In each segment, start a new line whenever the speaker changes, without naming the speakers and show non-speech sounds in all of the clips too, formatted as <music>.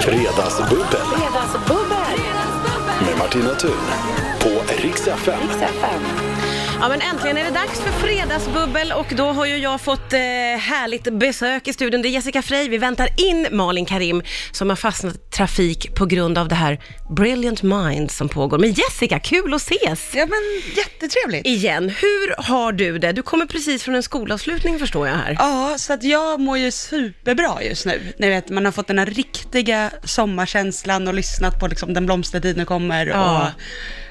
Fredagsbubbel
Fredagsbubbel!
med Martina Thun på Rix FM.
Ja men äntligen är det dags för fredagsbubbel och då har ju jag fått eh, härligt besök i studion. Det är Jessica Frey. Vi väntar in Malin Karim som har fastnat i trafik på grund av det här Brilliant Mind som pågår. Men Jessica, kul att ses!
Ja men jättetrevligt.
Igen, hur har du det? Du kommer precis från en skolavslutning förstår jag här.
Ja, så att jag mår ju superbra just nu. Ni vet, man har fått den här riktiga sommarkänslan och lyssnat på liksom den blomstertid nu kommer.
Ja.
Och,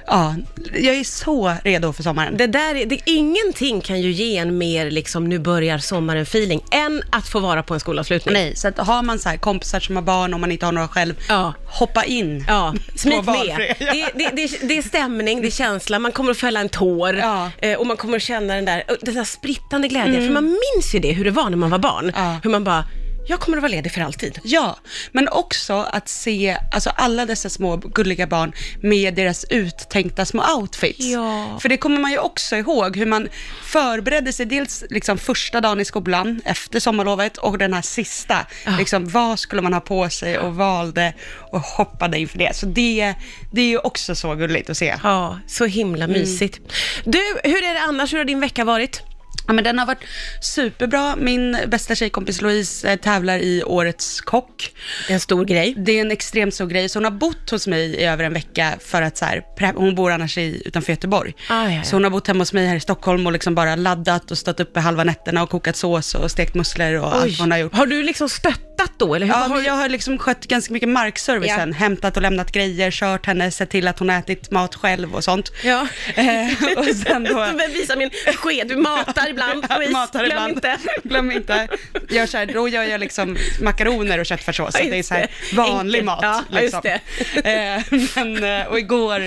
ja, jag är så redo för sommaren.
Det där, är- det, ingenting kan ju ge en mer liksom nu börjar sommaren feeling än att få vara på en skolavslutning.
Nej, så att har man så här kompisar som har barn, om man inte har några själv,
Ja.
hoppa in. <laughs>
Ja, smit
På valfri,
med.
ja.
Det, det, det, det är stämning, det är känsla, man kommer att fälla en tår
Ja. Mm.
eh, och man kommer att känna den där, den där sprittande glädjen. För man minns ju det, hur det var när man var barn.
Ja.
Hur man bara, jag kommer att vara ledig för alltid.
Ja, men också att se alltså alla dessa små gulliga barn med deras uttänkta små outfits.
Ja.
För det kommer man ju också ihåg, hur man förberedde sig, dels liksom första dagen i skolan efter sommarlovet och den här sista.
Ah.
Liksom, vad skulle man ha på sig och valde och hoppade inför det. Så det, det är ju också så gulligt att se.
Ja, så himla
Mm.
mysigt. Du, hur är det annars? Hur har din vecka varit?
Ja, men den har varit superbra. Min bästa tjejkompis Louise eh, tävlar i Årets kock.
Det är en stor grej.
Det är en extremt stor grej, så hon har bott hos mig i över en vecka för att så här, pre- hon bor annars i, utanför Göteborg.
Ah, ja, ja.
Så hon har bott hemma hos mig här i Stockholm och liksom bara laddat och stått uppe halva nätterna och kokat sås och stekt musslor och allt vad hon har gjort.
har du liksom stöttat då? Eller hur?
Ja,
har
men
du-
jag har liksom skött ganska mycket markservicen,
Ja.
hämtat och lämnat grejer, kört henne, sett till att hon har ätit mat själv och sånt.
Ja.
Eh, <laughs> och
<laughs>
sen då...
Jag visar min sked, du matar ibland.
Ja,
Louise.
<laughs> matar
Glöm
ibland.
inte.
<laughs> Glöm inte. Gör så här, då gör jag liksom makaroner och köttfärssås.
Ja,
så det är
just
så här
det.
vanlig
Enkelt.
mat.
Ja, ja, just
liksom. <laughs> Eh, Men, eh, och igår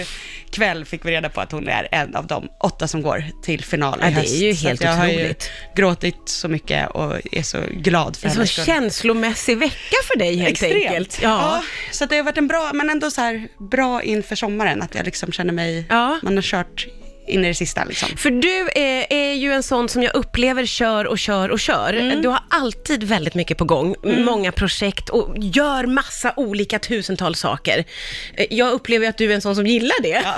kväll fick vi reda på att hon är en av de åtta som går till final
Ja,
i
det är
höst.
ju
Så
helt
att jag har ju
otroligt.
gråtit så mycket och är så glad för
En sån
hennes skull.
känslomässig vecka för dig helt enkelt.
Ja. så att det har varit en bra, men ändå så här bra inför sommaren, att jag liksom känner mig,
Ja.
man har kört in i det sista liksom.
För du är, är ju en sån som jag upplever kör och kör och kör.
Mm.
Du har alltid väldigt mycket på gång, många projekt och gör massa olika tusentals saker. Eh, Jag upplever ju att du är en sån som gillar det.
ja,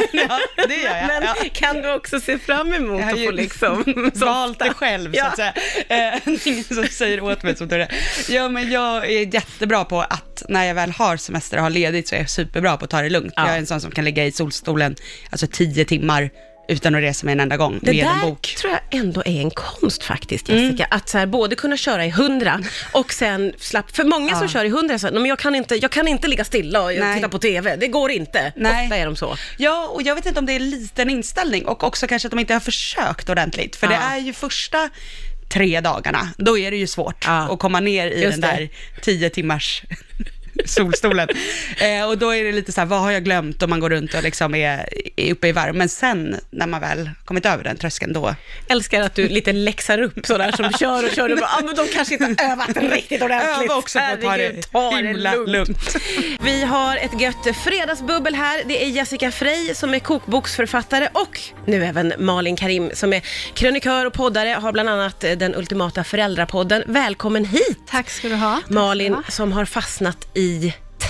det gör
<laughs>
jag.
Men
Ja.
kan du också se fram emot
Jag har
att få
ju <laughs>
liksom... <laughs>
valt det själv,
Ja.
så att säga. Eh, <laughs> det är ingen som säger åt mig som tur är. Ja, men jag är jättebra på att när jag väl har semester och har ledigt så är jag superbra på att ta det lugnt.
Ja.
Jag är en sån som kan ligga i solstolen, alltså tio timmar, utan att resa mig en enda gång
Det
med
där
en bok.
tror jag ändå är en konst faktiskt, Jessica. Att så här, både kunna köra i hundra och sen slapp... För många som kör i hundra säger men jag kan inte, jag kan inte ligga stilla och
Nej.
titta på TV. Det går inte.
Nej.
Ofta är de så.
Ja, och jag vet inte om det är liten inställning och också kanske att de inte har försökt ordentligt. För
Ja.
det är ju första tre dagarna, då är det ju svårt
Ja.
att komma ner i
Just
den där
det.
tio timmars <laughs> solstolen. eh, och då är det lite så här, vad har jag glömt? Och man går runt och liksom är, är uppe i varv. Men sen när man väl kommit över den tröskeln, då...
Älskar att du lite läxar upp sådär <laughs> som kör och kör och bara, ah, men de kanske inte har övat riktigt ordentligt.
Öva också på att ta
Herregud,
det
ta
himla lugnt.
Vi har ett gött fredagsbubbel här. Det är Jessica Frey som är kokboksförfattare och nu även Malin Karim som är krönikör och poddare, har bland annat eh, den ultimata föräldrapodden. Välkommen hit
Tack ska du ha.
Malin som har fastnat i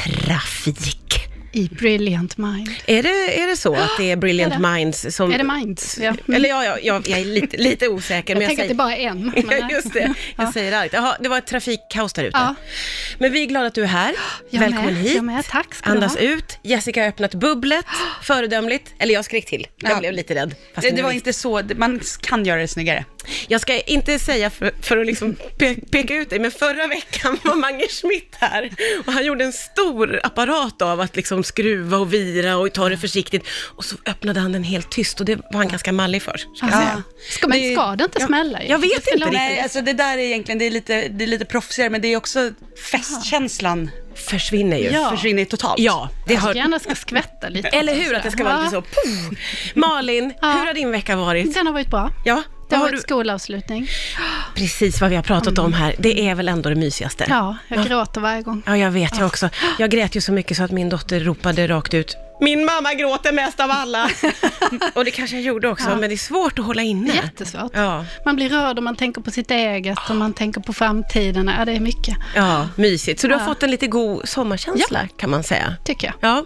trafik.
I Brilliant Mind.
Är det, är det så att
<gasps>
det är Brilliant
Är det?
Minds som...
Är det Minds? Ja. Mm.
Eller ja, ja, jag, jag är lite,
<laughs>
lite osäker.
jag
men jag
tänker
säger...
att det
<laughs>
bara är en. men
Ja,
nej.
just
<laughs>
det. Jag
Ja.
säger argt. Jaha, det var ett trafikkaos där ute.
Ja.
Men vi är glada att du är här.
<gasps> Jag
Välkommen
med,
hit.
jag med. Tack ska du
Andas
ha.
ut. Jessica har öppnat
<gasps>
bubblet föredömligt. Eller jag skrek till. Jag
Ja.
blev lite rädd. Fast
Det,
nu
det var
visst.
inte så, man kan göra det snyggare.
Jag ska inte säga för, för att liksom pe peka ut dig, men förra veckan var Mange Schmidt här och han gjorde en stor apparat av att liksom skruva och vira och ta det försiktigt och så öppnade han den helt tyst och det var han ganska mallig för. Ska jag, säga.
Ja. Ska, men
Det-
ska det inte smälla? ju?
jag vet
Det ska
inte
låta-
riktigt.
Nej, alltså det där är egentligen, det är lite, det är lite proffsigare, men det är också festkänslan
Försvinner ju.
Ja.
försvinner totalt.
Ja, det
Jag
har,
gärna ska skvätta lite.
Eller hur, att det ska vara lite så poff. Malin,
Ja.
hur har din vecka varit?
Den har varit bra.
Ja,
Det
vad
har
har
varit
du,
skolavslutning.
precis vad vi har pratat om här. Det är väl ändå det mysigaste?
Ja, jag gråter varje gång. Ah.
Ja, jag vet, jag också. Jag grät ju så mycket så att min dotter ropade rakt ut, Min mamma gråter mest av
<laughs>
alla. Och det kanske jag gjorde också,
Ja.
men det är svårt att hålla inne.
Jättesvårt.
Ja.
Man blir rörd och man tänker på sitt eget och man tänker på framtiden. Ja, det är mycket,
Ja, mysigt. Så du har
Ja.
fått en lite god sommarkänsla kan man säga.
tycker jag.
Ja,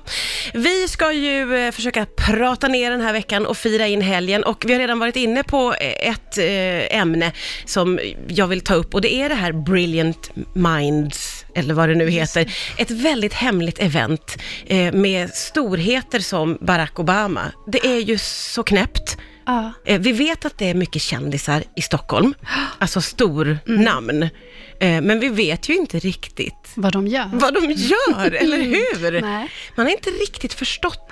vi ska ju eh, försöka prata ner den här veckan och fira in helgen och vi har redan varit inne på eh, ett eh, ämne som jag vill ta upp och det är det här Brilliant Minds, eller vad det nu heter. Ett väldigt hemligt event eh, med storheter som Barack Obama. Det är ju så knäppt.
Ja.
Eh, Vi vet att det är mycket kändisar i Stockholm, alltså stor namn. Eh, Men vi vet ju inte riktigt
Vad de gör.
vad de <laughs> gör, eller hur?
Nej.
Man har inte riktigt förstått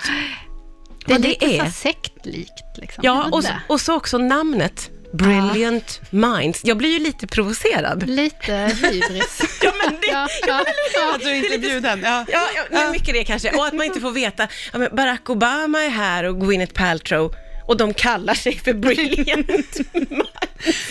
Det är
vad
lite
det
så
är.
här sektlikt. Liksom.
Ja,
Vad
och,
det
så-
är.
och så också namnet. Brilliant Minds. Jag blir ju lite provocerad.
Lite hybris. ja, men det, ja, ja, ja.
Att du <laughs> inte är bjuden. Ja.
Ja, ja det är mycket det kanske. Och att man inte får veta, ja, men Barack Obama är här och Gwyneth Paltrow och de kallar sig <laughs> för Brilliant Minds.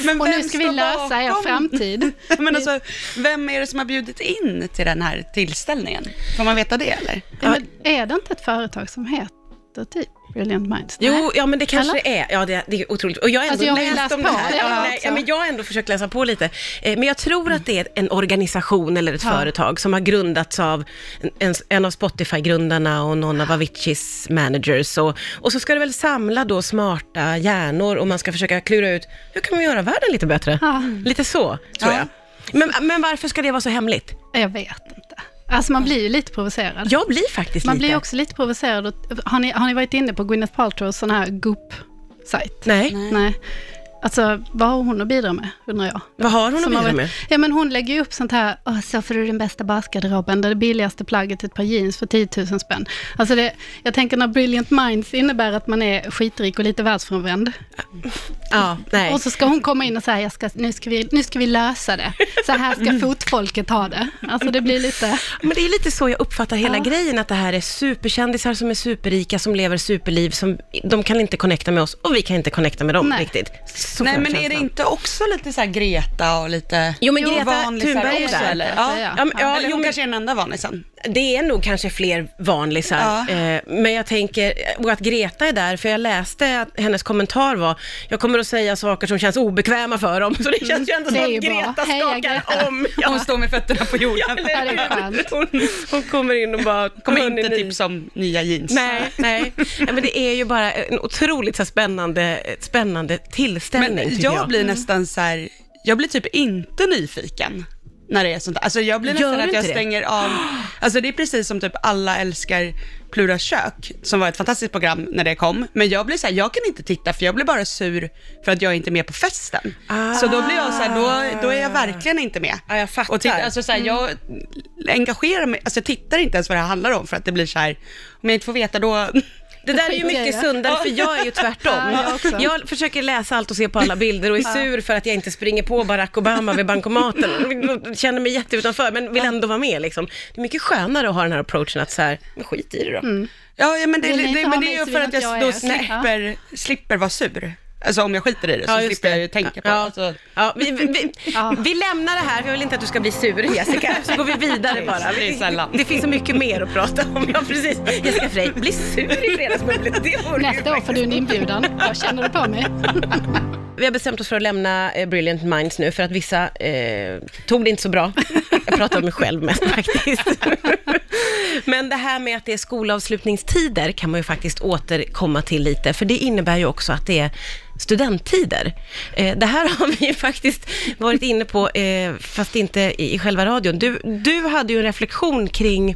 Men
Och
vem
nu ska vi
står
lösa er
bakom?
framtid.
<laughs> Men alltså, vem är det som har bjudit in till den här tillställningen? Får man veta det eller?
Ja, men är det inte ett företag som heter typ Brilliant Minds? Nej.
Jo, ja men det kanske
Eller?
det är. Ja, det, det är otroligt. Och jag har ändå
Alltså, jag har ju
läst,
läst
om det
på
här.
det
Ja,
också.
nej, ja, men jag har ändå försökt läsa på lite. Eh, Men jag tror att det är en organisation eller ett företag som har grundats av en- en, en av Spotify-grundarna och någon av Aviciis managers. Och, och så ska det väl samla då smarta hjärnor och man ska försöka klura ut hur kan man göra världen lite bättre?
Ja.
Lite så, tror
Ja.
jag. Men, men varför ska det vara så hemligt?
Jag vet inte. Alltså man blir ju lite provocerad.
Jag blir faktiskt
man
lite...
blir ju också lite provocerad. Och, har, ni, har ni varit inne på Gwyneth Paltrows sån här Goop-sajt?
Nej,
Nej. Alltså, vad har hon att bidra med, undrar jag?
vad har hon att
Som har
bidra
varit-
med?
Ja, men hon lägger ju upp sånt här, "Åh, så får du den bästa basgarderoben, där det billigaste plagget är ett par jeans för 10 000 spänn. Alltså det, jag tänker när Brilliant Minds innebär att man är skitrik och lite världsfrånvänd.
Ja, nej.
Och så ska hon komma in och säga, jag ska, nu, ska vi, nu ska vi lösa det. Så här ska
Mm.
fotfolket ha det. Alltså det blir lite...
Men det är lite så jag uppfattar hela
Ja.
grejen, att det här är superkändisar som är superrika, som lever superliv, som, de kan inte connecta med oss och vi kan inte connecta med dem
Nej.
riktigt. Så
Nej,
får jag
men är det
känslan.
inte också lite så här Greta och lite
Jo, men Greta
vanlisar
Thunberg är
också,
där.
eller?
Ja.
Ja.
Ja, men, ja,
eller
jo,
hon
men,
kanske är den enda vanlisen.
Det är nog kanske fler vanlisar,
Ja.
eh, men jag tänker, och att Greta är där, för jag läste att hennes kommentar var, jag kommer att säga saker som känns obekväma för dem, <laughs>
Mm.
så det känns ju ändå
det
som
är
att
ju bra.
Greta
Heja,
skakar
Greta.
om. <laughs> <laughs> Ja.
Hon står med fötterna på jorden.
Ja, det är skönt.
Hon, hon kommer in och bara,
Kommer
"Hörni,
inte typ-
ni-
tipsa om nya jeans.
Nej, nej. nej men det är ju bara en otroligt så här spännande, ett spännande tillställning,
Men
tycker jag. Mm.
jag blir nästan så här, jag blir typ inte nyfiken när det är sånt där. Alltså jag
Gör
blir nästan
du
att jag
inte det?
stänger av, <gasps> alltså det är precis som typ alla älskar Plura kök, som var ett fantastiskt program när det kom, men jag blir så här, jag kan inte titta för jag blir bara sur för att jag inte är med på festen. Så då blir jag så här, då, då är jag verkligen inte med.
Ah. Ja, jag fattar. Mm.
Och titta, alltså så här, jag engagerar mig, alltså jag tittar inte ens vad det här handlar om för att det blir så här, om jag inte får veta då, <laughs>
Det där är ju
skiter jag i
mycket
det.
sundare, för jag är ju tvärtom.
<laughs> Ja, jag också.
jag försöker läsa allt och se på alla bilder och är sur för att jag inte springer på Barack Obama vid bankomaten. Känner mig jätteutanför, men vill ändå vara med. Liksom. Det är mycket skönare att ha den här approachen att så här, men skit i det då.
Mm.
Ja, ja men det,
Vill ni
det,
inte
det,
ha
men det
mig
är ju
så
för
vill
att
jag
jag,
att jag
då
är.
slipper, slipper vara sur. Alltså om jag skiter i det så
Ja, just
slipper jag
det.
ju tänka på
ja.
det. Alltså,
Ja, vi, vi, vi,
Ja.
vi lämnar det här, för jag vill inte att du ska bli sur Jessica, så går vi vidare bara.
Det är sällan.
Det finns så mycket mer att prata om. Ja, precis. Jessica Frey, bli sur i Fredagsbubblet, det vore ju
Nästa år får du en inbjudan. Jag känner det på mig. <laughs>
Vi har bestämt oss för att lämna eh, Brilliant Minds nu för att vissa eh, tog det inte så bra. Jag pratar om mig själv mest <laughs> faktiskt. Men det här med att det är skolavslutningstider kan man ju faktiskt återkomma till lite, för det innebär ju också att det är studenttider. Eh, det här har vi ju faktiskt varit inne på, eh, fast inte i, i själva radion. Du, du hade ju en reflektion kring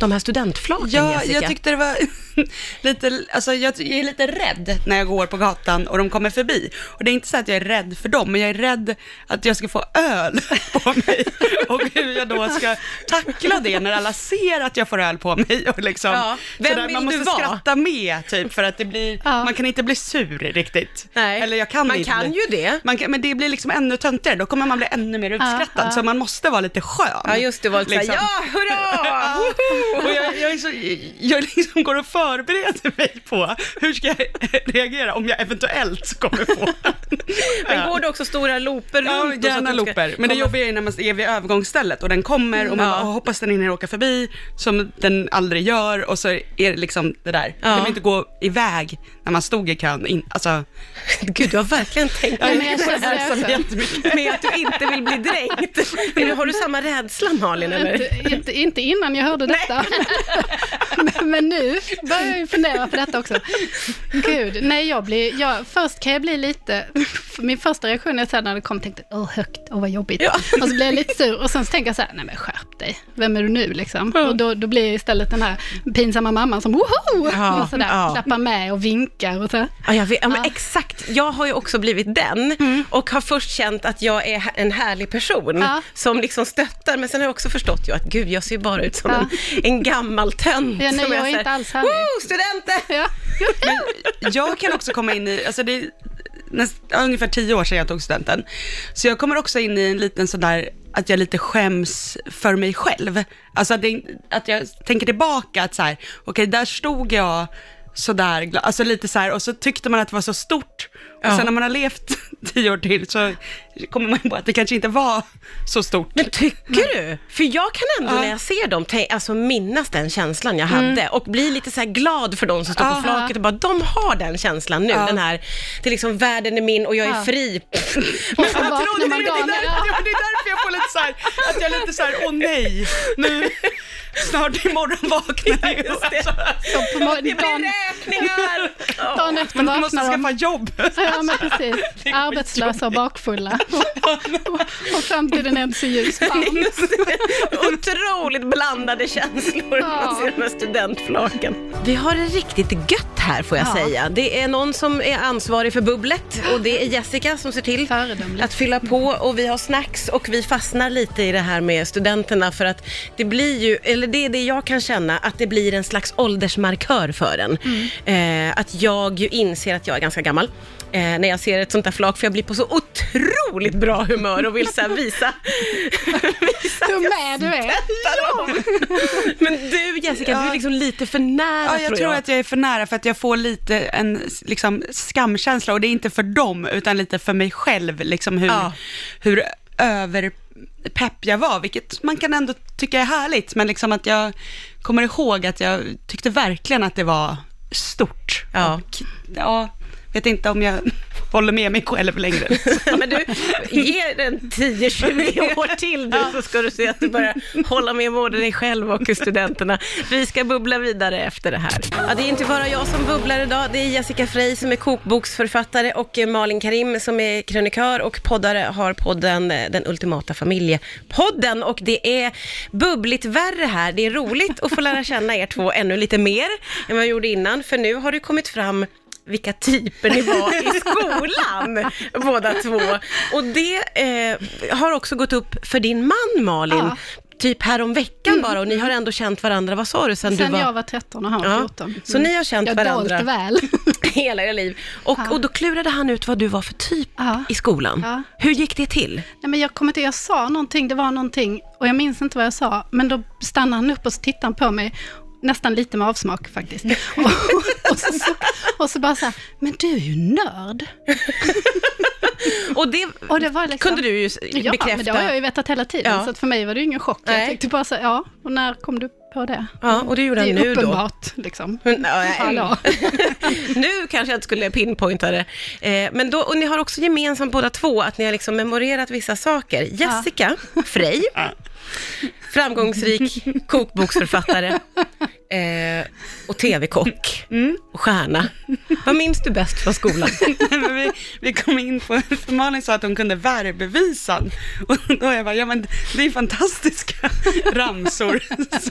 de här studentflaken,
ja,
Jessica.
jag tyckte det var <laughs> lite, alltså jag, ty- jag är lite rädd när jag går på gatan och de kommer förbi. Och det är inte så att jag är rädd för dem, men jag är rädd att jag ska få öl <laughs> på mig. Och hur jag då ska tackla det när alla ser att jag får öl på mig. Och liksom,
Ja, vem
sådär,
vill
man måste
du vara?
skratta med, typ, för att det blir,
Ja.
man kan inte bli sur riktigt.
Nej.
Eller jag kan
Man
inte
kan
bli-
ju det.
Man kan, men det blir liksom ännu töntigare, då kommer man bli ännu mer utskrattad.
ja.
Så man måste vara lite skön. Liksom. <laughs>
Ja, just det. Var lite så här, ja, hurra!
Och jag, jag, liksom, jag liksom går och förbereder mig på hur ska jag reagera om jag eventuellt kommer på.
Men går det också stora looper runt?
Ja,
och så att
gärna
du ska
looper. Men
komma-
det jobbiga är när man är vid övergångsstället och den kommer och man
Ja.
bara, "Åh, hoppas den hinner åka förbi, som den aldrig gör och så är det liksom det där.
Ja.
Man vill inte gå iväg när man stod i kön. In, alltså,
Gud, du har verkligen tänkt
men
med,
jag känner
<laughs>
det
ensam
också.
jättemycket.
med att du inte vill bli dränkt. Är du- Har du samma rädsla Malin? Eller?
Inte, inte, inte innan jag hörde detta. men, <laughs> men nu börjar jag ju fundera på detta också. Gud, nej jag blir, jag, först kan jag bli lite, min första reaktion är så här när det kom, tänkte åh högt, åh vad jobbigt.
Ja.
Och så blir jag lite sur och sen så tänker jag så här, nej men skärp dig, vem är du nu liksom? Och då, då blir jag istället den här pinsamma mamman som woho!
Ja,
och sådär,
ja.
klappar med och vinkar och så. här.
Ja, jag vet, ja, men
Ja.
exakt. Jag har ju också blivit den och har först känt att jag är hä- en härlig person
Ja.
som liksom stöttar, men sen har jag också förstått ju att gud, jag ser ju bara ut som
Ja.
en, en gammal tönt.
Ja, nej,
som
jag är
så här,
inte alls härlig.
"Woo, studenter!
Ja.
jag kan också komma in i, alltså det är näst, ja, ungefär tio år sedan jag tog studenten. Så jag kommer också in i en liten sån där, att jag lite skäms för mig själv. Alltså att, det, att jag tänker tillbaka att så här, okej där stod jag sådär, gla- alltså lite så här, och så tyckte man att det var så stort. Och sen när man har levt <laughs> tio år till så kommer man på att det kanske inte var så stort.
Men tycker du? För jag kan ändå
Ja.
när jag ser dem te- alltså minnas den känslan jag hade och bli lite så här glad för de som står på
Ja.
flaket och bara, de har den känslan nu, den här, det är liksom världen är min och jag är
Ja.
fri.
Och så vaknar
Trodde
man
du det? Det är
dagen
där-
ja.
ja, Det är därför jag får lite så här, att jag är lite så här, åh nej, nu, snart imorgon vaknar jag.
just det.
Alltså,
Så
<laughs>
på
Det
morgonen,
blir
dagen,
räkningar! Ja.
dagen efter
men du måste
vaknar de.
skaffa jobb.
Ja, men
Alltså,
precis. Arbetslösa
<laughs>
och bakfulla. Och framtiden är inte så ljus. Fan.
Otroligt blandade känslor när man
Ja.
ser de här studentflaken. Vi har det riktigt gött här får jag
Ja.
säga. Det är någon som är ansvarig för bubblet och det är Jessica som ser till
Föredömligt.
att fylla på och vi har snacks och vi fastnar lite i det här med studenterna för att det blir ju, eller det är det jag kan känna, att det blir en slags åldersmarkör för en.
Mm.
Eh, att jag ju inser att jag är ganska gammal. Eh, när jag ser ett sånt där flak, för jag blir på så otroligt bra humör och vill så här visa, visa
Hur med du är.
men du Jessica, du är
Ja.
liksom lite för nära
Ja, jag tror att jag är för nära för att jag får lite en liksom, skamkänsla och det är inte för dem utan lite för mig själv, liksom hur,
Ja.
hur överpepp jag var, vilket man kan ändå tycka är härligt, men liksom att jag kommer ihåg att jag tyckte verkligen att det var stort.
Ja.
Och, ja, vet inte om jag <laughs> håller med mig själv längre.
Ja, men du, ge den <laughs> 10-20 år till du så ska du se att du börjar hålla med både dig själv och studenterna. Vi ska bubbla vidare efter det här. Ja, det är inte bara jag som bubblar idag, det är Jessica Frey som är kokboksförfattare och eh, Malin Karim som är krönikör och poddare har podden eh, Den Ultimata Familjepodden och det är bubbligt värre här. Det är roligt att få lära känna er två ännu lite mer än vad jag gjorde innan, för nu har det kommit fram vilka typer ni var
<laughs>
i skolan, båda två. Och det eh, har också gått upp för din man Malin,
Ja. Mm.
typ här om veckan bara, och ni har ändå känt varandra, vad sa du, sen,
Sen
du var...
jag var 13 och han var
Ja.
14.
Så ni har känt
jag
varandra?
Jag väl. <laughs>
<laughs> hela era liv. Och,
Ja.
och då klurade han ut vad du var för typ
Ja.
i skolan.
Ja.
Hur gick det till?
Nej, men jag kommer inte, jag sa någonting, det var någonting och jag minns inte vad jag sa, men då stannade han upp och så tittade han på mig, nästan lite med avsmak
<laughs>
faktiskt. Och, och, så, så, och så bara så här, men du är ju nörd.
Och det,
Och det var liksom-
kunde du ju s-
Ja,
bekräfta.
men det har jag ju vetat hela tiden,
Ja.
så att för mig var det ju ingen chock.
Nej.
Jag tänkte bara så här, ja, och när kom du på det?
Ja, och det gjorde
Det
han
är
nu då.
uppenbart, liksom.
Men, ja, nej. <laughs>
Hallå.
nu kanske jag inte skulle pinpointa det. Eh, men då, och ni har också gemensamt båda två att ni har liksom memorerat vissa saker. Jessica
<laughs>
Frey, framgångsrik kokboksförfattare eh, och tv-kock och stjärna. Vad minns du bäst från skolan?
<laughs> Nej, men vi, vi kom in på, för Malin sa att hon kunde värbevisan. Och då jag bara, ja men det är ju fantastiska <laughs> ramsor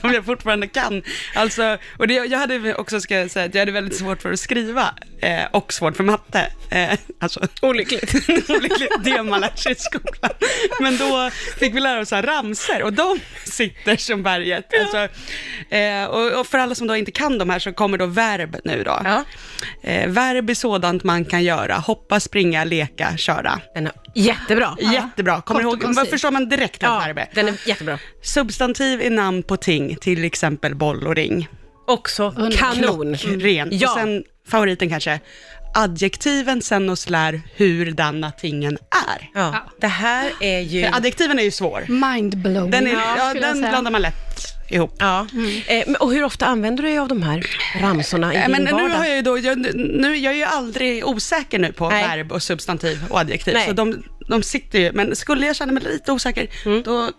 <laughs> som jag fortfarande kan. Alltså, och det, jag hade också, ska jag säga, att jag hade väldigt svårt för att skriva eh, och svårt för matte. Eh, alltså,
Olyckligt.
<laughs> olyckligt, det man lär sig i skolan. Men då fick vi lära oss så här ramsor och de sitter som berget. Alltså, eh, och, och för alla som då inte kan de här så kommer då verb nu då.
Ja.
Eh, verb är sådant man kan göra, hoppa, springa, leka, köra.
Den är jättebra.
Jättebra, kommer
Kort och
ihåg,
koncist.
förstår man direkt vad verb
Ja,
är.
den är jättebra.
Substantiv är namn på ting, till exempel boll och ring.
Också kanon.
Klockren.
Ja.
Och sen favoriten kanske, adjektiven sen oss lär hurdana tingen är.
Ja, det här är ju...
För adjektiven är ju svår.
Mindblowing.
Den, är, ja,
Mm. skulle jag
den
säga.
blandar man lätt ihop.
Ja.
Mm.
Eh, men- och hur ofta använder du dig av de här ramsorna i
Nej,
din
Eh, Äh, Men
vardag?
nu har jag ju då, jag, nu, jag är ju aldrig osäker nu på
Nej.
verb och substantiv och adjektiv,
Nej.
så de, de sitter ju, men skulle jag känna mig lite osäker, då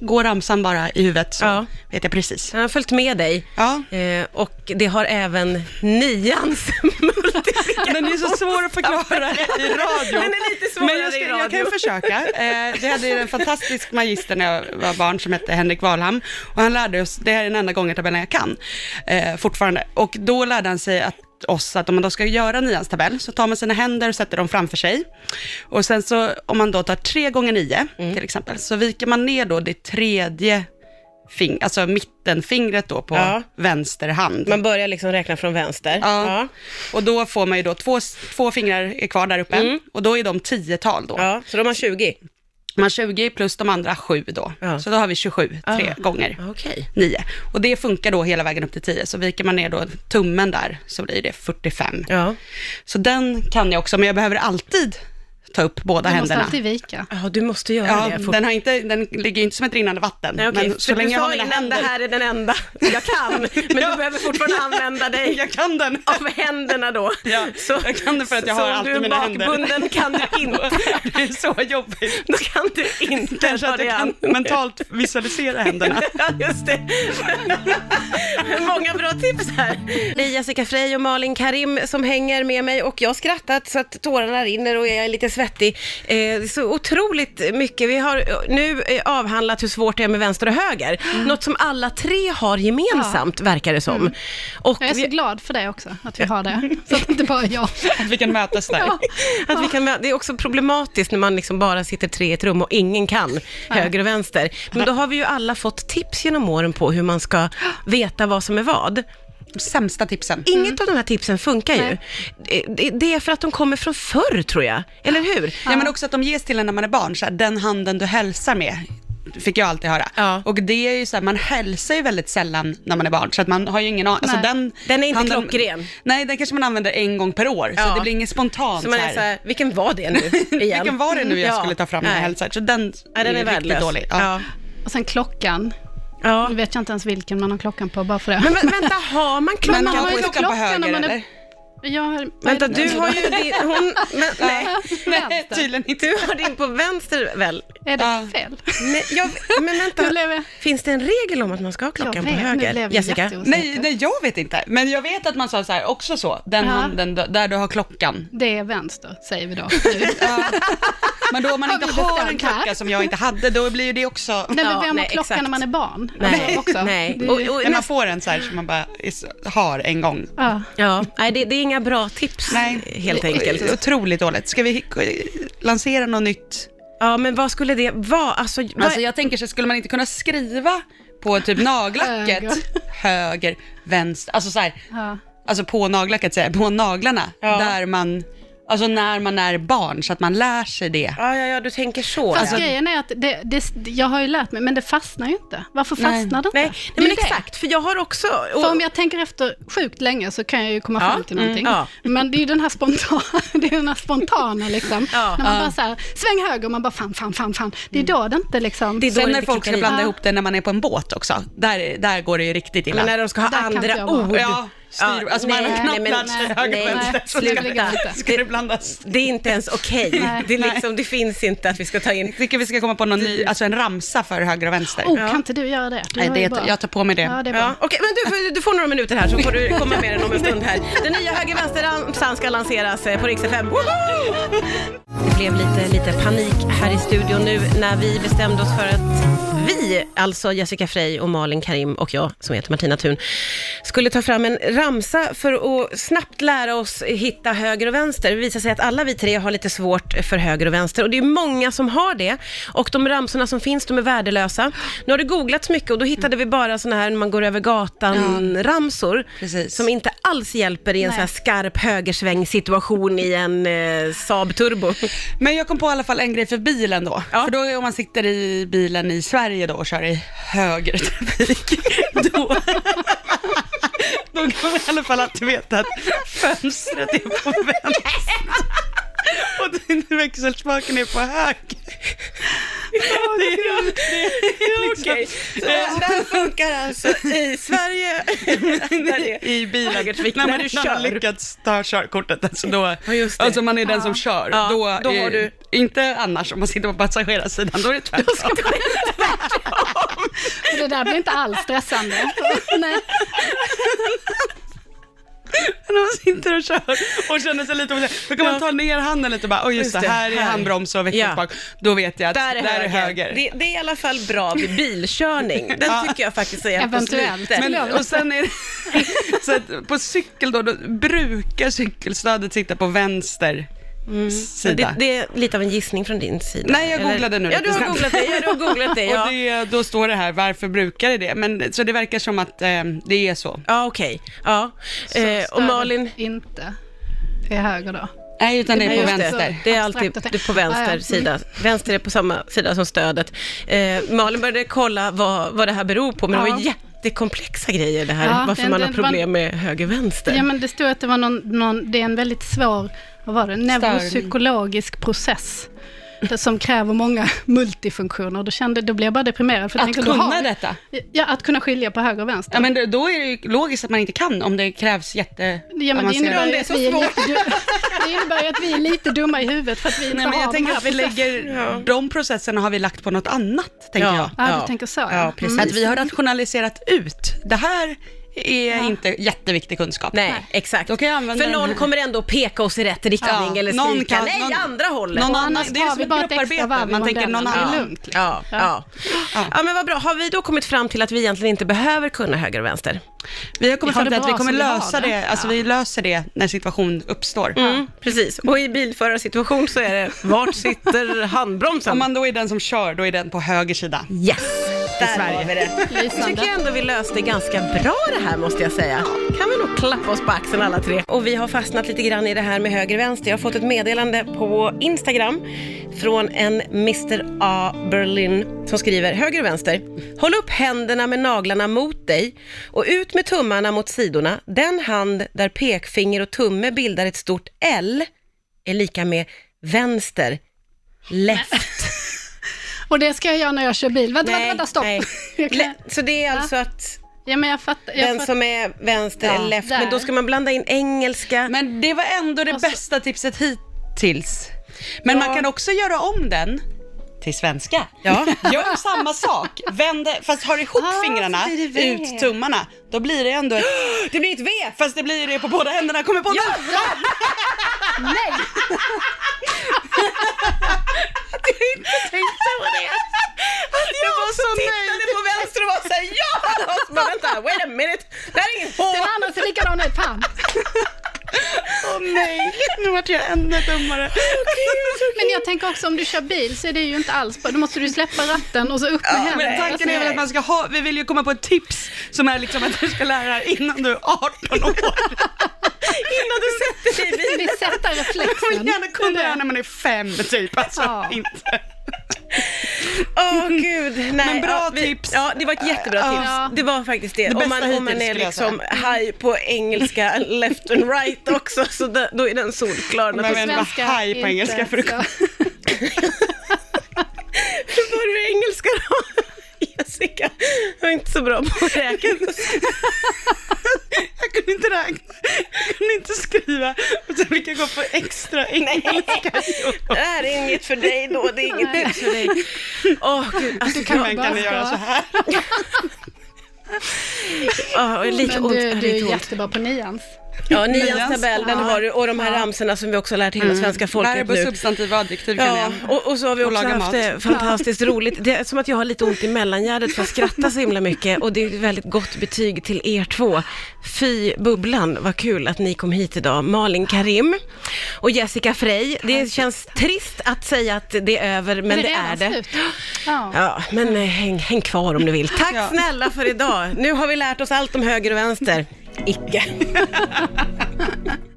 går ramsan bara i huvudet, så
Mm. Ja.
vet jag precis.
Den har följt med dig.
Ja.
Eh, och det har även nians <laughs> multiplikation.
Den är ju så svår att förklara <laughs> i radio.
Den är lite svårare
Men jag, ska,
i
jag
radio.
kan försöka. Eh, vi hade ju en fantastisk magister när jag var barn som hette Henrik Wahlham. Och han lärde oss, det här är den enda gången tabellen jag kan, eh, fortfarande. Och då lärde han sig att oss att om man då ska göra nians tabell så tar man sina händer och sätter dem framför sig. Och sen så om man då tar tre gånger nio
Mm.
till exempel, så viker man ner då det tredje fing- alltså mittenfingret då på
Ja.
vänster hand.
Man börjar liksom räkna från vänster.
Ja. Och då får man ju då två, två fingrar är kvar där uppe och då är de tiotal då.
Mm. Ja, så de har 20.
Man har 20 plus de andra sju då.
Ja.
Så då har vi 27 tre gånger.
Okej.
nio Och det funkar då hela vägen upp till 10. Så viker man ner då tummen där så blir det 45.
Ja.
Så den kan jag också, men jag behöver alltid ta upp båda
Man måste
händerna.
alltid vika.
ja, du måste göra
Ja,
det. fort.
den, har inte, den ligger ju inte som ett rinnande vatten.
Nej, okej.
Men
så
så
du
länge jag har
sa
mina
innan
händer.
det här är den enda jag
<laughs>
kan, men
Ja.
du behöver fortfarande använda dig
Jag kan den.
av händerna då.
Ja, jag kan det för att jag
så
har
om
alltid mina händer.
du är bakbunden kan du inte,
<laughs> <laughs> Det är så jobbigt.
då kan du inte
<laughs> Kanske
ta
att
dig
jag
an.
kan mentalt
<laughs>
<laughs>
visualisera händerna.
Ja, just det. Många bra tips här. Det är Jessica Frey och Malin Karim som hänger med mig och jag har skrattat så att tårarna rinner och jag är lite svettig. Eh, det är så otroligt mycket. Vi har eh, nu eh, avhandlat hur svårt det är med vänster och höger.
Mm.
Något som alla tre har gemensamt, verkar det som. Och
Jag är så
vi,
glad för det också, att vi har det. Så att det inte bara är jag. <laughs>
Att vi kan mötas där.
Ja.
<laughs> att vi kan, det är också problematiskt när man liksom bara sitter tre i ett rum och ingen kan höger och vänster. Men då har vi ju alla fått tips genom åren på hur man ska veta vad som är vad.
Sämsta tipsen.
Inget av de här tipsen funkar ju. Det, det är för att de kommer från förr, tror jag. Eller hur?
Ja, men också att de ges till en när man är barn, så här, den handen du hälsar med, fick jag alltid höra.
Ja.
Och det är ju så här, man hälsar ju väldigt sällan när man är barn, så att man har ju ingen aning. Alltså,
Nej.
den,
Den är inte klockren.
Nej, den kanske man använder en gång per år,
Ja.
så det blir inget spontant.
Så man är så
<laughs>
här, vilken var det nu igen?
Vilken var det nu jag
Ja.
skulle ta fram när jag
Nej.
hälsar? Så den,
Ja, den är
riktigt
värdelös.
dålig. Ja.
Ja.
Och sen klockan.
Ja.
Nu vet jag inte ens vilken man har klockan på, bara för det.
Men vä- vänta, har man
Men
klockan?
man
man
har
har
ju
klockan på
klockan om
höger
man är-
eller?
<laughs> Jag har, vad är
Vänta,
det
du
nu
har
då?
ju din... Hon, men, nej,
<laughs> Nej,
Vänster.
tydligen inte.
du har din på vänster väl?
Är det
Ja.
fel?
Nej, jag, men
Nu
vänta,
blev jag-
finns det en regel om att man ska ha
Jag
klockan på
vet, nu blev
höger?
jag
Jessica?
jätteosäker.
Nej, nej, jag vet inte. Men jag vet att man sa så här, också så, den
Ja.
handen du- där du har klockan.
Det är vänster, säger vi då.
Men då
<laughs>
om man
Har
inte
vi
har en
bestämt här?
klocka som jag inte hade, då blir ju det också...
<laughs>
Nej,
Ja,
men vem
nej,
har klockan
exakt.
när man är barn?
Nej,
Alltså, också.
nej.
Det är-
Och, och,
När man får en så här som man bara is- har en gång.
ja.
ja, nej, det, det är inga bra tips, helt enkelt.
<laughs> Otroligt dåligt. Ska vi hick- lansera något nytt?
Ja, men vad skulle det vara? Alltså, vad,
Alltså jag tänker så skulle man inte kunna skriva på typ
Höger.
naglacket, höger, vänster, alltså så här,
Ja.
alltså på naglacket säger jag, på naglarna,
Ja.
där man, alltså när man är barn så att man lär sig det.
ja, ja, ja, du tänker så.
Fast
ja.
grejen är att det, det, jag har ju lärt mig, men det fastnar ju inte. Varför
Nej.
fastnar det inte?
Nej, nej men
Det är det.
exakt, för jag har också... och-
För om jag tänker efter sjukt länge så kan jag ju komma
Ja,
fram till någonting.
mm, ja.
Men det är ju den här spontana, <laughs> det är den här spontana liksom.
Ja, Mm.
när man bara så här, sväng höger och man bara fan, fan, fan, fan. Det är då det inte liksom...
Det är då
Sen
det
när
inte
folk
klickar
ska
i.
blanda
Ja.
ihop det när man är på en båt också, där, där går det ju riktigt
Men
illa.
när de ska ha
Där kan inte
andra
jag vara.
ord.
Ja, styr, alltså man
nej,
har knappt
nej, men-
lärt sig höger och
nej,
vänster, så ska,
sluta.
det- ska det blandas.
Det är inte ens okej.
Nej.
Det, är liksom, det finns inte att vi ska ta in...
Jag tycker vi ska komma på någon ny, alltså en ramsa för höger och vänster.
Oh, kan inte du göra det? Du
Nej,
var
det
ju
är,
bra.
jag tar på mig det.
Ja, det är bra.
Ja, okej, men du, får- du får några minuter här så får du komma med den om en stund här. Den nya höger-vänster-ramsan ska lanseras eh, på Rix FM. Woho! Det blev lite, lite panik här i studion nu när vi bestämde oss för att vi, alltså Jessica Frey och Malin Karim och jag, som heter Martina Thun, skulle ta fram en ramsa för att snabbt lära oss hitta höger och vänster. Det visar sig att alla vi tre har lite svårt för höger och vänster och det är många som har det. Och de ramsorna som finns, de är värdelösa. Nu har det googlats mycket och då hittade vi bara sådana här när man går över gatan-ramsor.
Precis.
Som inte alls hjälper i en
Nej.
så här skarp högersväng-situation i en eh, Saab Turbo.
Men jag kom på i alla fall en grej för bilen då.
Ja.
För då om man sitter i bilen i Sverige då och kör i höger trafik, <laughs> då, då kan man i alla fall alltid veta att fönstret är på vänster. Och din växelspaken är på höger. Det är, det är
Okej.
liksom,
Så Den funkar alltså i
<laughs>
Sverige.
i bilen.
Högertrafik,
När
när
man
du
inte har
kör.
lyckats ta körkortet, alltså, då,
Ja, just det.
alltså man är den som kör,
Ja,
då,
då
är-
har du-
inte annars om man sitter på passagerarsidan, då är det tvärtom.
Det där blir inte alls stressande. Nej.
<laughs> När man sitter och kör och känner sig lite osäker, då kan man ta ner handen lite och bara, oh, just,
Just
det,
det,
här är
här.
handbroms och växelspak, bak. då vet jag att där är höger.
Det, det är i alla fall bra vid bilkörning. Den
Ja.
tycker jag faktiskt har hjälpt oss
Eventuellt.
lite.
Men-
Och sen är
<laughs>
det, så att på cykel då, då brukar cykelstödet sitta på vänster sida.
Men Mm. det, det är lite av en gissning från din sida.
Nej, jag
eller?
googlade nu
Ja,
lite
du har
snabbt.
googlat det. Ja, du har googlat det. Ja,
<laughs> Och det, då står det här, varför brukar det det? Men, så det verkar som att eh, det är så.
ja okej. Ja. Eh, <laughs> och
Stödet
Malin?
Inte till höger då.
Nej, utan det
är
är
Nej,
på
just
vänster.
Det, det är
Abstrakt
alltid
att tänka.
det är på vänster
Ja, ja.
sida. Vänster är på samma sida som stödet. Eh, Malin började kolla vad, vad det här beror på, men det
Ja.
var jättekomplexa grejer det här,
Ja,
varför
det-
man
det-
har
det var-
problem med höger-vänster.
Ja, men det stod att det var någon, någon, det är en väldigt svår, vad var det, neuropsykologisk process det som kräver många <laughs> multifunktioner. Då, kände, då blev jag bara deprimerad. För jag
Att
tänkte, då har
kunna
vi-
detta?
Ja, att kunna skilja på höger och vänster.
Ja, men då- då är det ju logiskt att man inte kan om det krävs jätte...
Ja, men det,
avancerade-
innebär
det
ju
är
att
så
vi är
svårt.
lite, du- det innebär ju att vi är lite dumma i huvudet för att vi inte
Nej, men jag
har de
tänker
här
att vi
processerna.
lägger, de processerna har vi lagt på något annat, tänker jag.
Ja, du tänker så, ja.
Ja, precis.
Mm.
Att vi har rationaliserat ut, det här är inte jättektig kunskap.
Nej, exakt.
Då kan jag använda
För
den
någon
här.
kommer ändå peka oss i rätt riktning
Ja,
eller
någon
skrika,
kan-
nej,
någon-
andra hållet.
Någon
Och
annan,
annars
det är
har
som
vi
ett
bara ett extra
grupparbete,
varv i
man tänker någon
modellen.
annan.
Det är
Ja.
lugnt. liksom.
Ja, ja. Ja. men vad bra. Har vi då kommit fram till att vi egentligen inte behöver kunna höger och vänster?
Vi har kommit
Vi har
fram till
det
att vi
bra
kommer
som vi har
lösa
det.
det, alltså vi löser det när situation uppstår.
Mm, precis. Och i bilförarsituation så är det, vart sitter <laughs> handbromsen?
Om man då är den som kör, då är den på höger sida.
Yes! Där
Sverige.
har vi det. Jag
Lysande.
tycker ändå vi löste ganska bra det här måste jag säga. Kan vi nog klappa oss på axeln alla tre. Och vi har fastnat lite grann i det här med höger och vänster. Jag har fått ett meddelande på Instagram från en Mr A Berlin som skriver höger och vänster. Håll upp händerna med naglarna mot dig och ut med tummarna mot sidorna. Den hand där pekfinger och tumme bildar ett stort L är lika med vänster. Left.
Och det ska jag göra när jag kör bil. <laughs> Vänta, vänta, vänta, stopp.
nej.
<laughs> Jag kan-
Le- Så det är alltså att
Ja, men jag fattar. Jag
den
fattar.
som är vänster
Ja,
är left,
där.
men då ska man blanda in engelska.
Men det var ändå det
Alltså-
bästa tipset hittills. Men
Ja.
man kan också göra om den till svenska.
Ja.
<laughs> Gör samma sak, vänd, det- fast har ihop
Ah,
fingrarna,
så blir det V.
ut tummarna. Då blir det ändå ett...
Det blir ett V!
Fast det blir ju det på båda händerna, kommer <laughs> på nu!
Nej!
Jag var så tittade på vänster och var såhär ja! Och så <laughs> bara, vänta, wait a minute, det här är inget H!
Den andra ser likadan ut. Fan.
Åh nej, nu vart jag ännu <laughs> dummare.
Men jag tänker också om du kör bil så är det ju inte alls bra. Då måste du släppa ratten och så upp med händerna. Alltså,
Men tanken är väl att man ska ha, vi vill ju komma på ett tips som är liksom att du ska lära dig här innan du är 18 år.
Innan
<laughs>
du sätter dig i bilen.
Vi sätter
Man vill
reflexen.
gärna kunna det här när man är fem typ, alltså
Ja.
inte.
Åh gud, nej.
Men bra
ja,
tips.
Ja, det var ett jättebra
Ja.
tips. Det var faktiskt det. om man,
bästa
om man
hittills,
är
skulle jag säga. Mm.
liksom high på engelska <laughs> left and right också, så då, då är den solklar.
Men
naturligtvis.
vem var haj på engelska för att
Hur var det i engelska då? <laughs> Jessica, jag är inte så bra på att
<laughs>
räkna.
Jag kunde inte räkna, jag kunde inte skriva och sen fick jag gå på extra engelska.
Det här är inget för dig då, det är inget
Nej.
tips för dig. Åh gud, alltså,
kan
jag,
Men kan ni göra så här?
åh, jag är lite
Men
ont,
du,
jag är
du
lite
är
ont.
jättebra på nians.
Ja, nians
Nians.
tabell, den har du, och de här ramsorna som vi också har lärt hela svenska folket
Verb och
nu.
substantiv och adjektiv kan
Ja,
jag.
och, och så har vi
Och
också
laga
haft
mat.
det fantastiskt roligt. Det är som att jag har lite ont i mellangärdet för jag skrattar så himla mycket och det är ett väldigt gott betyg till er två. Fy Bubblan, vad kul att ni kom hit idag. Malin Karim och Jessica Frey. Det känns trist att säga att det är över, men det är
redan
det.
slut? Ja.
Ja, men eh, häng, häng kvar om du vill. Tack
Ja.
snälla för idag. Nu har vi lärt oss allt om höger och vänster. Icke.